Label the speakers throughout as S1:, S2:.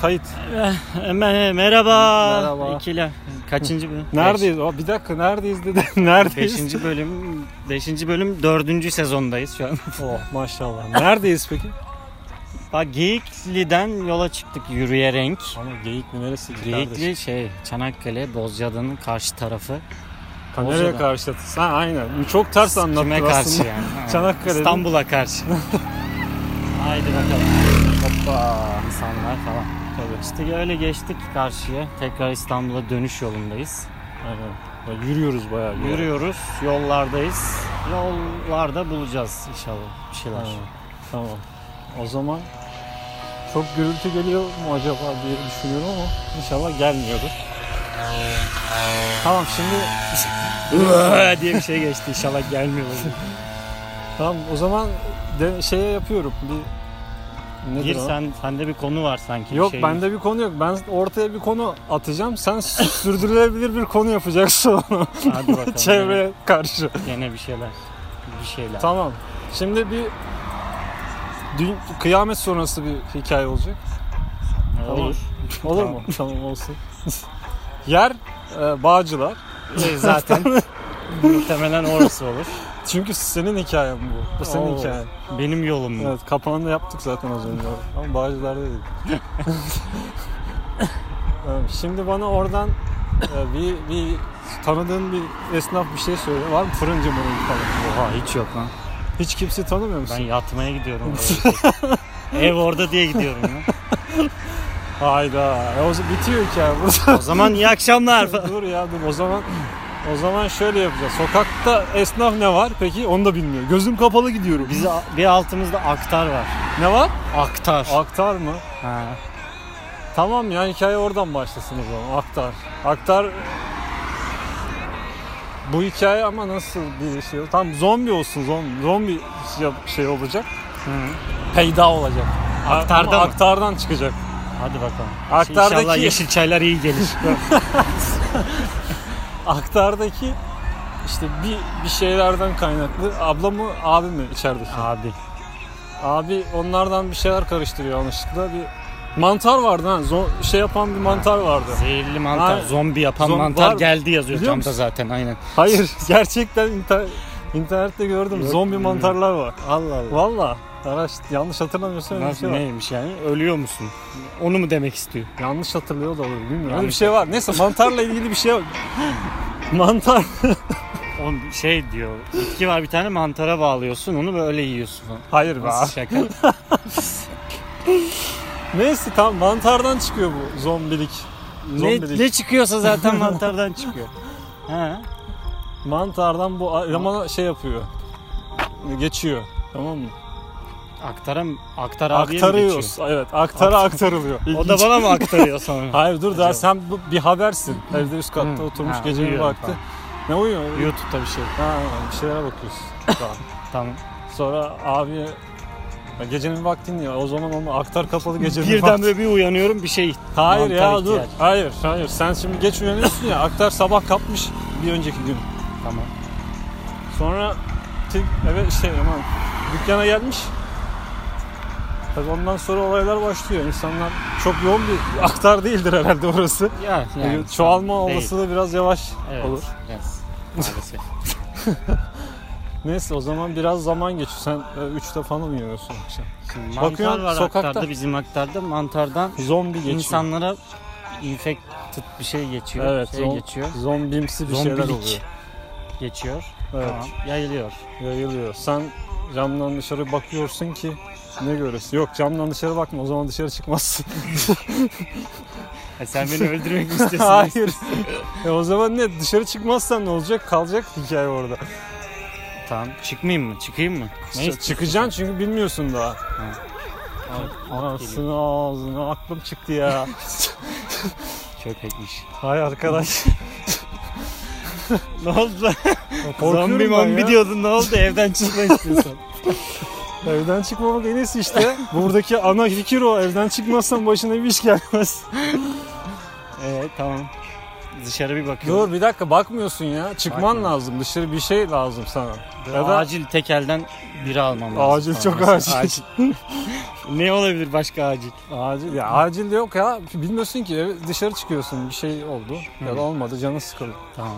S1: kayıt.
S2: Eh, Me- Merhaba.
S1: Merhaba.
S2: İkiler. Kaçıncı bölüm?
S1: Neredeyiz? O bir dakika neredeyiz dedi. neredeyiz?
S2: Beşinci bölüm. Beşinci bölüm dördüncü sezondayız şu an.
S1: Oh maşallah. Neredeyiz peki?
S2: Bak Geyikli'den yola çıktık yürüyerek.
S1: Ama geyik mi neresi? ki kardeşim?
S2: Geyikli şey Çanakkale Bozcaada'nın karşı tarafı.
S1: Kameraya
S2: Bozcaada.
S1: karşı atılsın. Ha aynen. Çok ters anlattın
S2: Kime
S1: aslında.
S2: karşı yani? Ha.
S1: Çanakkale'nin-
S2: İstanbul'a karşı. Haydi bakalım.
S1: Hoppa.
S2: İnsanlar falan. İşte öyle geçtik karşıya. Tekrar İstanbul'a dönüş yolundayız.
S1: Aynen. Ya Yürüyoruz bayağı. bir.
S2: Yürüyoruz, yollardayız. Yollarda bulacağız inşallah bir şeyler.
S1: Ha, Tamam. O zaman çok gürültü geliyor mu acaba diye düşünüyorum ama inşallah gelmiyordur. Tamam şimdi
S2: Uaa diye bir şey geçti inşallah gelmiyor.
S1: tamam o zaman de, şeye yapıyorum bir nedir
S2: Gir
S1: o?
S2: sen sende bir konu var sanki. bir
S1: Yok
S2: şey.
S1: bende bir konu yok. Ben ortaya bir konu atacağım. Sen sü- sürdürülebilir bir konu yapacaksın onu.
S2: Hadi bakalım.
S1: Çevreye karşı.
S2: Gene, gene bir şeyler. Bir şeyler.
S1: Tamam. Şimdi bir dün kıyamet sonrası bir hikaye olacak.
S2: Olur.
S1: Olur mu? tamam olsun. Yer e, Bağcılar.
S2: Ee, Zaten muhtemelen orası olur.
S1: Çünkü senin hikayen bu. Bu senin
S2: Oo.
S1: hikayen.
S2: Benim yolum mu?
S1: Evet kapağını da yaptık zaten az önce. Ama Bağcılar'da dedik. Ee, Şimdi bana oradan e, bir, bir tanıdığın bir esnaf bir şey söyle. Var mı fırıncı mırıncı falan?
S2: Oha hiç yok lan.
S1: Hiç kimseyi tanımıyor
S2: Ben
S1: musun?
S2: yatmaya gidiyorum. Ev orada diye gidiyorum ya.
S1: Hayda. E, o zaman bitiyor hikaye burada.
S2: O zaman iyi akşamlar falan.
S1: dur ya dur. O zaman o zaman şöyle yapacağız. Sokakta esnaf ne var peki? Onu da bilmiyor. Gözüm kapalı gidiyorum.
S2: Biz bir altımızda aktar var.
S1: Ne var?
S2: Aktar.
S1: Aktar mı?
S2: Ha.
S1: Tamam ya hikaye oradan başlasın o zaman. Aktar. Aktar bu hikaye ama nasıl bir şey? Tam zombi olsun zombi. Zombi şey- şey olacak.
S2: Hı.
S1: Peyda olacak.
S2: Aktarda
S1: Ama
S2: mı?
S1: Aktardan çıkacak.
S2: Hadi bakalım.
S1: Aktardaki-
S2: İnşallah yeşil çaylar iyi gelir.
S1: Aktardaki işte bir bir şeylerden kaynaklı. Abla mı abi mi içerideki?
S2: Abi.
S1: Abi onlardan bir şeyler karıştırıyor yanlışlıkla. Bir mantar vardı ha. zo- şey yapan bir mantar vardı.
S2: Zehirli mantar,
S1: Ha,
S2: zombi yapan
S1: zombi
S2: mantar
S1: var mı?
S2: geldi yazıyor
S1: Biliyor
S2: camda
S1: musun?
S2: zaten aynen.
S1: Hayır gerçekten inter- internette gördüm.
S2: Yok,
S1: Zombi
S2: bilmiyorum.
S1: mantarlar var.
S2: Allah Allah.
S1: Valla araç yanlış hatırlamıyorsam öyle bir
S2: Nasıl
S1: şey var.
S2: neymiş yani? Ölüyor musun? Onu mu demek istiyor?
S1: Yanlış hatırlıyor da olabilir bilmiyorum. Öyle bir
S2: Yanlış
S1: şey var. Neyse mantarla ilgili bir şey yok. Mantar.
S2: Oğlum şey diyor. Bitki var bir tane mantara bağlıyorsun onu böyle yiyorsun falan.
S1: Hayır be abi.
S2: Nasıl şaka?
S1: Neyse tam mantardan çıkıyor bu zombilik.
S2: ne,
S1: Zombilik.
S2: ne çıkıyorsa zaten mantardan çıkıyor. Ha?
S1: Mantardan bu elemana şey yapıyor. Geçiyor. Tamam mı?
S2: Aktara mı? Aktar abiye mi
S1: Aktarıyoruz.
S2: geçiyor?
S1: Evet aktara aktarılıyor.
S2: O da
S1: İlginç.
S2: bana mı aktarıyor sonra?
S1: Hayır dur
S2: Acaba?
S1: daha sen bu, bir habersin. Evde üst
S2: Hı.
S1: katta oturmuş
S2: Ha,
S1: gece bir
S2: uyuyorum
S1: vakti.
S2: falan.
S1: Ne uyuyor?
S2: Youtube'da bir şey.
S1: Ha, bir şeylere bakıyorsun. Tamam.
S2: Tamam.
S1: Sonra abi ya gecenin vaktini ya o zaman onu aktar kapalı gecenin
S2: Birden
S1: vakti.
S2: böyle bir uyanıyorum bir şey.
S1: Hayır
S2: mantar
S1: ya dur.
S2: ihtiyacı.
S1: Hayır hayır sen şimdi geç uyanıyorsun ya aktar sabah kapmış bir önceki gün.
S2: Tamam.
S1: Sonra tek eve şey aman dükkana gelmiş. Tabii ondan sonra olaylar başlıyor. İnsanlar çok yoğun bir aktar değildir herhalde orası.
S2: Ya yani.
S1: Çoğalma
S2: Değil.
S1: olasılığı biraz yavaş
S2: Evet.
S1: olur.
S2: Biraz. Maalesef.
S1: Neyse o zaman biraz zaman geçiyor. Sen 3'te falan uyanıyorsun akşam.
S2: Şimdi mantar
S1: Bakıyorum
S2: var
S1: sokakta.
S2: aktarda bizim aktarda mantardan
S1: Zombi geçiyor.
S2: insanlara infected bir şey geçiyor.
S1: Evet,
S2: şey
S1: zom-
S2: geçiyor.
S1: Zombimsi bir şeyler
S2: Zombilik
S1: oluyor.
S2: geçiyor.
S1: Evet.
S2: Tamam. Yayılıyor.
S1: Yayılıyor. Sen camdan dışarı bakıyorsun ki ne görürsün? Yok camdan dışarı bakma o zaman dışarı çıkmazsın.
S2: E sen beni öldürmek mi istiyorsun?
S1: Hayır. E o zaman ne? Dışarı çıkmazsan ne olacak? Kalacak hikaye orada.
S2: Tamam. Çıkmayayım mı? Çıkayım mı?
S1: Neyse, çıkacaksın çünkü bilmiyorsun daha. Anasını ağzını aklım çıktı ya.
S2: Köpekmiş.
S1: Hay arkadaş.
S2: ne oldu lan?
S1: Korkuyorum
S2: Zombi
S1: ben
S2: mombi
S1: ya.
S2: diyordun ne oldu? Evden çıkma istiyorsan.
S1: Evden çıkmamak en iyisi işte. Buradaki ana fikir o. Evden çıkmazsan başına bir iş gelmez.
S2: evet Ee, tamam. Dışarı bir bakıyorum.
S1: Dur bir dakika bakmıyorsun ya. Çıkman
S2: Bakmıyorum.
S1: lazım. Dışarı bir şey lazım sana. Ya da
S2: Acil tekelden biri almam lazım.
S1: acil
S2: falan.
S1: çok
S2: Mesela
S1: acil. Acil.
S2: ne olabilir başka acil?
S1: ya acil de yok ya. Bilmiyorsun ki eve dışarı çıkıyorsun. Bir şey oldu ya da olmadı. Canın sıkıldı.
S2: Tamam.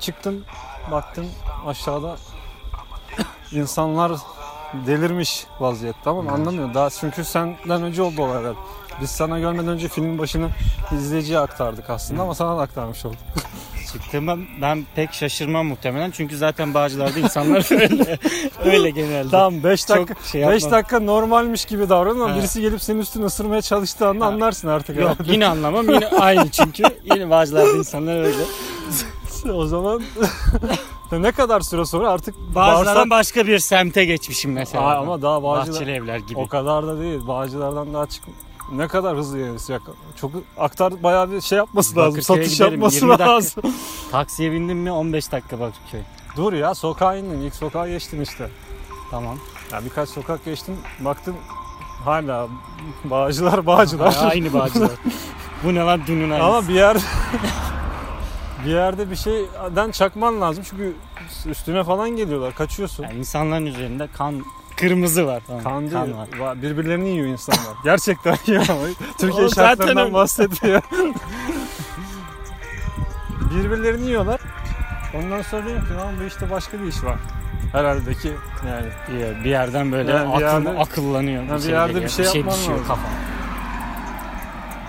S1: Çıktın, baktın aşağıda insanlar delirmiş vaziyette ama anlamıyor. Daha çünkü senden önce oldu olaylar. Biz sana görmeden önce filmin başını izleyiciye aktardık aslında ama sana da aktarmış olduk.
S2: Çıktığımda ben pek şaşırmam muhtemelen. Çünkü zaten Bağcılar'da insanlar öyle. öyle genelde.
S1: Tamam 5
S2: Çok
S1: dakika
S2: şey
S1: 5
S2: yapmam.
S1: dakika normalmiş gibi davran ama
S2: Ha.
S1: birisi gelip senin üstünü ısırmaya çalıştığı anda
S2: Ha.
S1: anlarsın artık.
S2: Yok yine anlamam. Yine aynı çünkü. Yine Bağcılar'da insanlar öyle.
S1: herhalde. o zaman ne kadar süre sonra artık
S2: Bağcılar'dan
S1: bağırsak-
S2: başka bir semte geçmişim mesela.
S1: Aa, ama daha Bağcılar
S2: Bahçeli evler gibi.
S1: O kadar da değil. Bağcılardan daha çık. Ne kadar hızlı yayınız ya. Çok aktar bayağı bir şey yapması lazım.
S2: Bakırköy'e
S1: Satış
S2: gidelim,
S1: yapması
S2: 20 dakika.
S1: lazım.
S2: Taksiye bindim mi 15 dakika Bakırköy.
S1: Dur ya sokağa indin. İlk sokağa geçtin işte.
S2: Tamam.
S1: Ya birkaç sokak geçtim. Baktım hala bağcılar bağcılar.
S2: aynı Bağcılar. Bu ne lan dünün aynısı.
S1: Ama bir yer bir yerde bir şeyden çakman lazım. Çünkü üstüne falan geliyorlar. Kaçıyorsun.
S2: Yani insanların üzerinde kan kırmızı var. Tamam,
S1: Kan, değil.
S2: var.
S1: Va- Birbirlerini yiyor insanlar. Gerçekten ya. Türkiye
S2: Oğlum zaten
S1: şartlarından
S2: öyle.
S1: bahsediyor. Birbirlerini yiyorlar. Ondan sonra diyorum ki lan bu işte başka bir iş var. Herhalde ki yani.
S2: Bir, bir yerden böyle
S1: Yani bir
S2: akıl-
S1: yerde-
S2: akıllanıyor.
S1: bir
S2: şey
S1: yerde bir
S2: geliyor,
S1: şey yapman
S2: düşüyor
S1: lazım.
S2: kafama.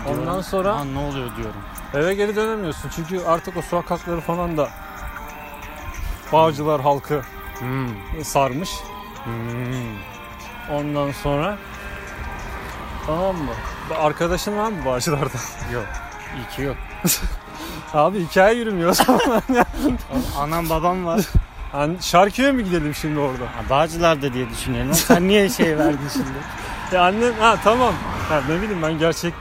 S1: Ondan
S2: Diyorum,
S1: sonra
S2: "Lan ne oluyor diyorum.
S1: eve geri dönemiyorsun. Çünkü artık o sokakları falan da Bağcılar halkı
S2: Hmm.
S1: sarmış.
S2: Hmm.
S1: Ondan sonra Tamam mı? Arkadaşın var mı Bağcılar'da?
S2: Yok. İyi ki yok.
S1: Abi hikaye yürümüyor. o zaman.
S2: Anam babam var.
S1: Hani şarkıya mı gidelim şimdi orada?
S2: Ha, Bağcılar'da diye düşünelim. Sen niye şey verdin şimdi?
S1: Ya annem ha tamam. Ha, ne bileyim ben gerçekçi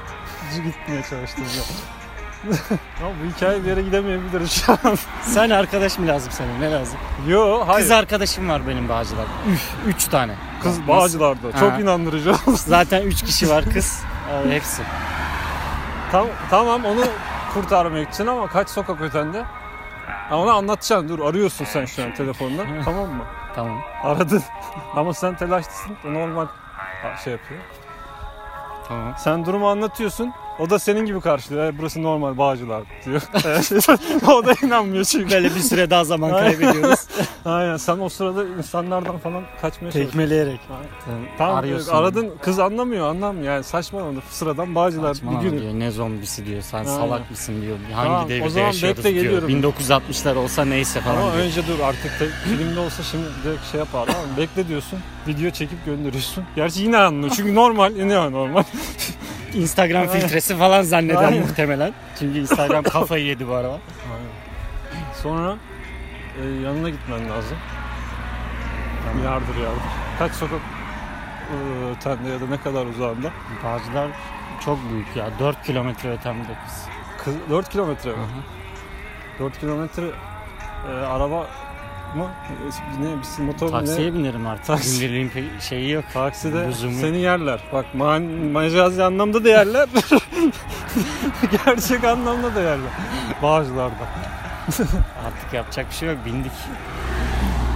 S1: gitmeye çalıştım ya. Ama bu hikaye bir yere gidemeyebiliriz şu an.
S2: Sen arkadaş mı lazım sana? Ne lazım?
S1: Yo hayır.
S2: Kız arkadaşım var benim Bağcılar'da. Üf, üç tane.
S1: Kız Bağcılar'da.
S2: Ha.
S1: Çok inandırıcı oldu.
S2: Zaten üç kişi var kız. Abi hepsi.
S1: Tam, tamam onu kurtarmak için ama kaç sokak ötende? Ha, Onu anlatacaksın dur arıyorsun sen şu an telefonla tamam mı?
S2: Tamam.
S1: Aradın ama sen telaşlısın normal ha, şey yapıyor.
S2: Tamam.
S1: Sen durumu anlatıyorsun. O da senin gibi karşılıyor. "E, Burası normal Bağcılar diyor. o da inanmıyor çünkü.
S2: Böyle bir süre daha zaman kaybediyoruz.
S1: Aynen sen o sırada insanlardan falan kaçmaya çalışıyorsun.
S2: Tekmeleyerek. e,
S1: Tam
S2: Arıyorsun.
S1: aradın kız anlamıyor anlamıyor yani saçmalama sıradan bağcılar
S2: Saçmalama
S1: bir gün.
S2: diyor. Ne zombisi diyor. Sen
S1: Aynen.
S2: salak mısın diyor. Hangi
S1: Tamam, o
S2: devirde
S1: zaman
S2: yaşıyoruz
S1: bekle
S2: diyor.
S1: geliyorum.
S2: 1960'lar olsa neyse falan
S1: Ama
S2: diyor.
S1: önce dur artık te- filmde olsa şimdi direkt şey yaparlar ama bekle diyorsun video çekip gönderiyorsun. Gerçi yine anlıyor çünkü normal yine normal.
S2: Instagram filtresi falan zanneder
S1: Aynen.
S2: muhtemelen. Çünkü Instagram kafayı yedi bu araba.
S1: Sonra e, yanına gitmen lazım. Yardır yardır. Kaç sokak e, tende ya da ne kadar uzağında?
S2: Bağcılar çok büyük ya. 4 kilometre ötemde kız.
S1: Kız, 4 kilometre mi? 4 kilometre e, araba mı? E, Ne bir motor mu ne?
S2: Taksiye binerim artık.
S1: Taksi.
S2: Günlüğün pe- şeyi yok.
S1: Takside
S2: Lüzumu.
S1: seni yerler. Bak man, macazi anlamda da yerler. Gerçek anlamda da yerler. Bağcılarda.
S2: Artık yapacak bir şey yok. Bindik.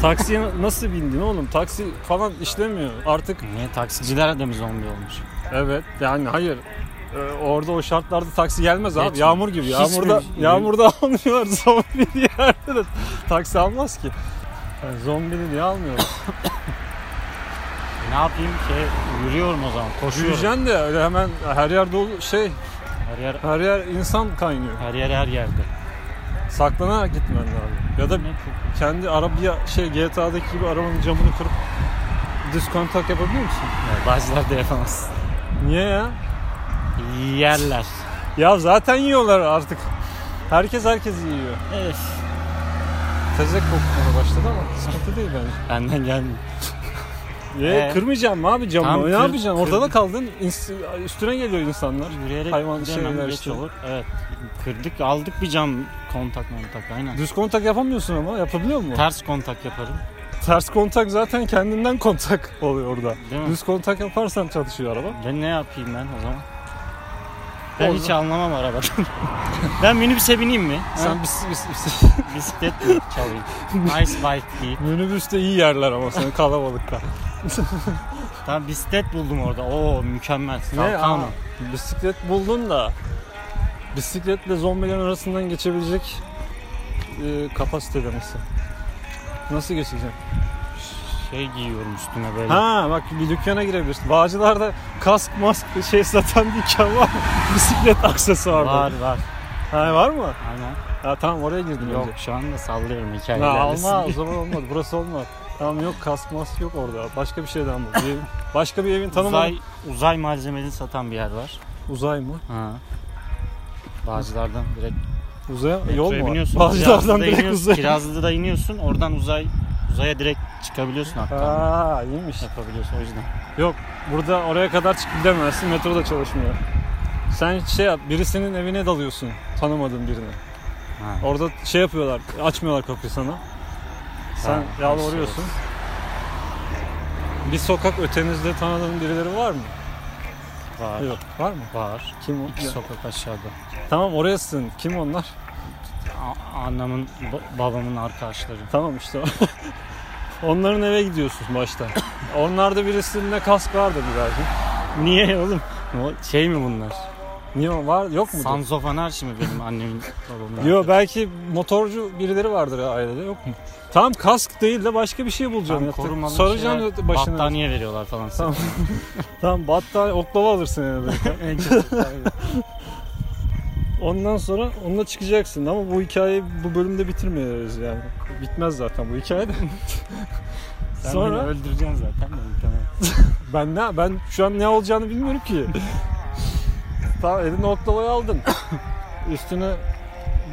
S1: Taksiye na- nasıl bindin oğlum? Taksi falan işlemiyor. Artık
S2: Niye taksiciler de mi zombi olmuş?
S1: evet yani hayır. Ee, orada o şartlarda taksi gelmez abi.
S2: Evet.
S1: Yağmur gibi.
S2: Hiç
S1: Yağmurda
S2: mi-
S1: yağmurda almıyorlar zombi diye yerde de taksi almaz ki. Yani zombini niye almıyorlar?
S2: E, Ne yapayım ki? Yürüyorum o zaman. Koşuyorum.
S1: Yürüyeceksin de öyle hemen her yer dolu şey
S2: Her yer
S1: her yer insan kaynıyor.
S2: her yer her yerde.
S1: Saklanarak gitmen lazım. Ya da
S2: Ne çok-
S1: kendi arabaya şey GTA'daki gibi arabanın camını kırıp düz kontak yapabiliyor musun?
S2: Ya, Bazılar da yapamaz.
S1: Niye ya?
S2: Yerler.
S1: Ya zaten yiyorlar artık. Herkes herkesi yiyor.
S2: Evet.
S1: Tezek kokmaya başladı ama sıkıntı değil bence.
S2: Benden gelmiyor.
S1: Ye,
S2: Ee?
S1: kırmayacağım mı abi camı?
S2: Tam
S1: ne
S2: kır-
S1: yapacaksın? Ortada
S2: kırdım.
S1: kaldın. ins- Üstüne geliyor insanlar.
S2: Yürüyerek
S1: Hayvan
S2: gidemem,
S1: şeyler
S2: geç
S1: işte.
S2: olur. Evet. Kırdık aldık bir cam kontak montak aynen.
S1: Düz kontak yapamıyorsun ama yapabiliyor musun?
S2: Ters kontak yaparım.
S1: Ters kontak zaten kendinden kontak oluyor orada.
S2: Değil mi?
S1: Düz kontak yaparsan çalışıyor araba.
S2: Ben ne yapayım ben o zaman? Ben
S1: Orada-
S2: hiç anlamam arabadan. ben minibüse bineyim mi?
S1: Sen bis, bis, bis.
S2: Bisiklet mi çalayım? Ice bike değil.
S1: Minibüste iyi yerler ama sen kalabalıkta.
S2: Tamam bisiklet buldum orada. Oo mükemmel.
S1: Ne
S2: Kalkan.
S1: ama bisiklet buldun da bisikletle zombilerin arasından geçebilecek e, kapasitede misin? Nasıl geçeceksin?
S2: Şey giyiyorum üstüne böyle.
S1: Ha bak bir dükkana girebilirsin. Bağcılar'da kask mask şey satan dükkan var mı? Bisiklet aksesuarı.
S2: Var var.
S1: Ha, var mı?
S2: Aynen.
S1: Ha tamam oraya girdim
S2: Yok
S1: önce.
S2: şu anda sallıyorum
S1: Ya
S2: hikayelerdesin.
S1: alma o zaman olmadı. Burası olmaz. Tamam yok kask mask yok orada. Başka bir şeyden bul. Bir- başka bir evin tanımı.
S2: Uzay, uzay malzemelerini satan bir yer var.
S1: Uzay mı?
S2: Ha. Bağcılardan direkt
S1: Uzaya E, yol
S2: metroya
S1: mu? var?
S2: biniyorsun.
S1: Bağcılar'dan
S2: Kirazlı'da
S1: direkt
S2: iniyorsun.
S1: uzaya.
S2: Kirazlı'da iniyorsun. Oradan uzay uzaya direkt çıkabiliyorsun hatta.
S1: Aa iyiymiş.
S2: Yapabiliyorsun o yüzden.
S1: Yok burada oraya kadar çıkıp gidemezsin metro da çalışmıyor. Sen şey yap birisinin evine dalıyorsun tanımadığın birine.
S2: Ha.
S1: Orada şey yapıyorlar açmıyorlar kapıyı sana. Sen
S2: Ha, şey
S1: yalvarıyorsun. Bir sokak ötenizde tanıdığın birileri var mı?
S2: Var.
S1: Yok. Var mı?
S2: Var.
S1: Kim o?
S2: İki sokak aşağıda.
S1: Tamam orayasın. Kim onlar?
S2: A- annemin, ba- babamın arkadaşları.
S1: Tamam işte. Onların eve gidiyorsun başta. Onlarda birisinde kask vardı belki.
S2: Niye oğlum? O şey mi bunlar?
S1: Niye o var? Yok mu?
S2: Sons of Anarchy mi benim annemin babamın?
S1: Yok belki motorcu birileri vardır ya ailede yok mu? Tamam kask değil de başka bir şey
S2: Tam
S1: bulacağım. Tam
S2: korumalı
S1: Saracaksın
S2: şeyler,
S1: başına.
S2: Battaniye veriyorlar falan.
S1: Tamam. Tamam battaniye oklava alırsın yani.
S2: En kötü.
S1: Ondan sonra onunla çıkacaksın ama bu hikayeyi bu bölümde bitirmiyoruz yani. Bitmez zaten bu hikaye de.
S2: Sen
S1: Sonra-
S2: beni öldüreceksin zaten. de muhtemelen.
S1: ben ne ben şu an ne olacağını bilmiyorum ki. tamam eline oklavayı aldın. Üstüne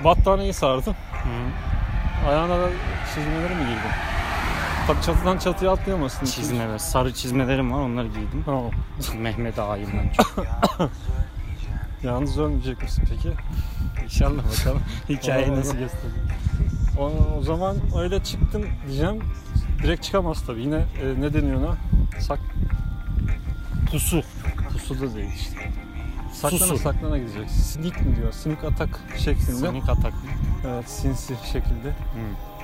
S1: battaniyeyi sardın.
S2: Hı.
S1: Ayağına da çizmeleri mi giydin? Tabii çatıdan çatıya atlayamazsın.
S2: Çizme var. Sarı çizmelerim var onları giydim.
S1: Tamam.
S2: Mehmet Ağa'yım ben
S1: Yalnız ölmeyecek misin peki?
S2: İnşallah bakalım. Hikayeyi
S1: Olur.
S2: nasıl gösterecek.
S1: O, o zaman öyle çıktın diyeceğim. Direkt çıkamaz tabii. Yine e, ne deniyor ona? Sak... Pusu. Pusu da değil işte. Saklana
S2: Susu.
S1: saklana gideceksin. Sneak mi diyor? Sneak atak şeklinde.
S2: Sonic atak.
S1: Evet sinsi şekilde.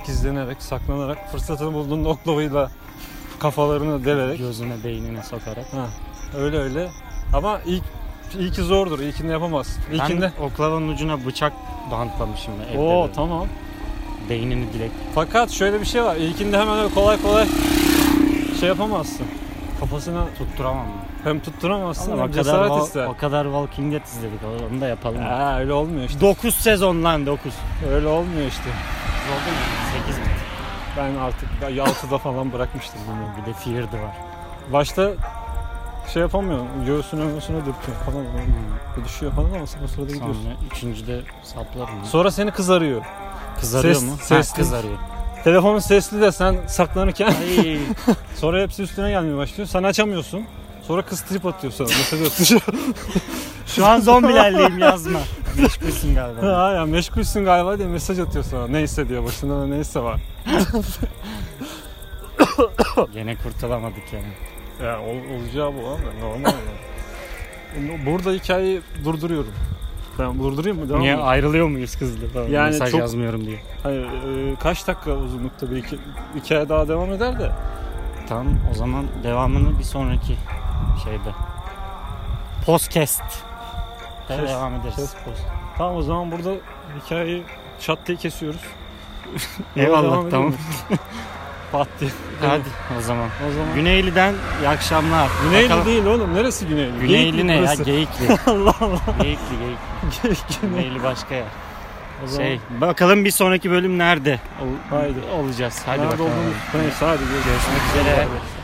S1: Gizlenerek, saklanarak, fırsatını bulduğunda oklavayla kafalarını delerek.
S2: Gözüne beynine sokarak.
S1: Ha, öyle öyle. Ama ilk ilk zordur. İlkinde yapamaz. İlkinde.
S2: Ben oklavanın ucuna bıçak bantlamışım. ben evde
S1: Oo
S2: böyle.
S1: tamam.
S2: Beynini direkt.
S1: Fakat şöyle bir şey var. İlkinde hemen öyle kolay kolay şey yapamazsın. Kafasına
S2: Tutturamam mı?
S1: hem tutturamazsın
S2: Ama
S1: hem cesaret
S2: wa-
S1: ister.
S2: O kadar Walking Dead izledik. Onu da yapalım.
S1: Ha, öyle olmuyor işte.
S2: 9 sezon lan 9.
S1: Öyle olmuyor işte.
S2: Oldu mu? 8 mi?
S1: Ben artık 6'da falan bırakmıştım bunu.
S2: Bir de Fear'dı var.
S1: Başta şey yapamıyorum. Göğsüne göğsüne dürtüyor falan. Böyle Düşüyor falan ama sen o sırada gidiyorsun.
S2: Sonra üçüncüde saplarım. ya.
S1: Sonra seni kız arıyor.
S2: Kızarıyor
S1: ses-
S2: mu?
S1: sesli-
S2: Ha, kızarıyor.
S1: Telefonun sesli de sen saklanırken
S2: Ay.
S1: sonra hepsi üstüne gelmeye başlıyor. Sen açamıyorsun. Sonra kız trip atıyor sana. Mesela atıyor.
S2: Şu an zombilerleyim yazma. Meşgulsün galiba.
S1: Ha ya meşgulsün galiba diye mesaj atıyor sana. Neyse diyor başında da neyse var.
S2: Gene kurtulamadık yani.
S1: Ya ol, olacağı bu abi normal yani. E, Burada hikayeyi durduruyorum. Ben durdurayım mı? Devam
S2: Niye
S1: mı?
S2: ayrılıyor muyuz kızla? Falan.
S1: Yani
S2: Mesaj
S1: çok-
S2: yazmıyorum diye.
S1: Hayır, e, kaç dakika uzunlukta bir iki, hikaye daha devam eder de.
S2: Tamam o zaman devamını bir sonraki şeyde. Podcast. De
S1: Kes-
S2: devam ederiz.
S1: kes post. Tamam o zaman burada hikayeyi çat diye kesiyoruz. Devam
S2: Eyvallah
S1: edelim
S2: tamam.
S1: mi? Pat diye.
S2: Hadi o zaman.
S1: O zaman.
S2: Güneyli'den iyi akşamlar.
S1: Güneyli
S2: Bakalım-
S1: değil oğlum. Neresi Güneyli? Geyikli
S2: Güneyli ne ya?
S1: burası.
S2: Geyikli.
S1: Allah Allah.
S2: Geyikli, Geyikli.
S1: Geyikli.
S2: Güneyli başka yer.
S1: O zaman
S2: Şey, bakalım bir sonraki bölüm nerede
S1: Haydi.
S2: olacağız. Hadi
S1: nerede
S2: bakalım.
S1: olduğumuz- Neyse hadi görüşmek
S2: üzere.
S1: Bay bay.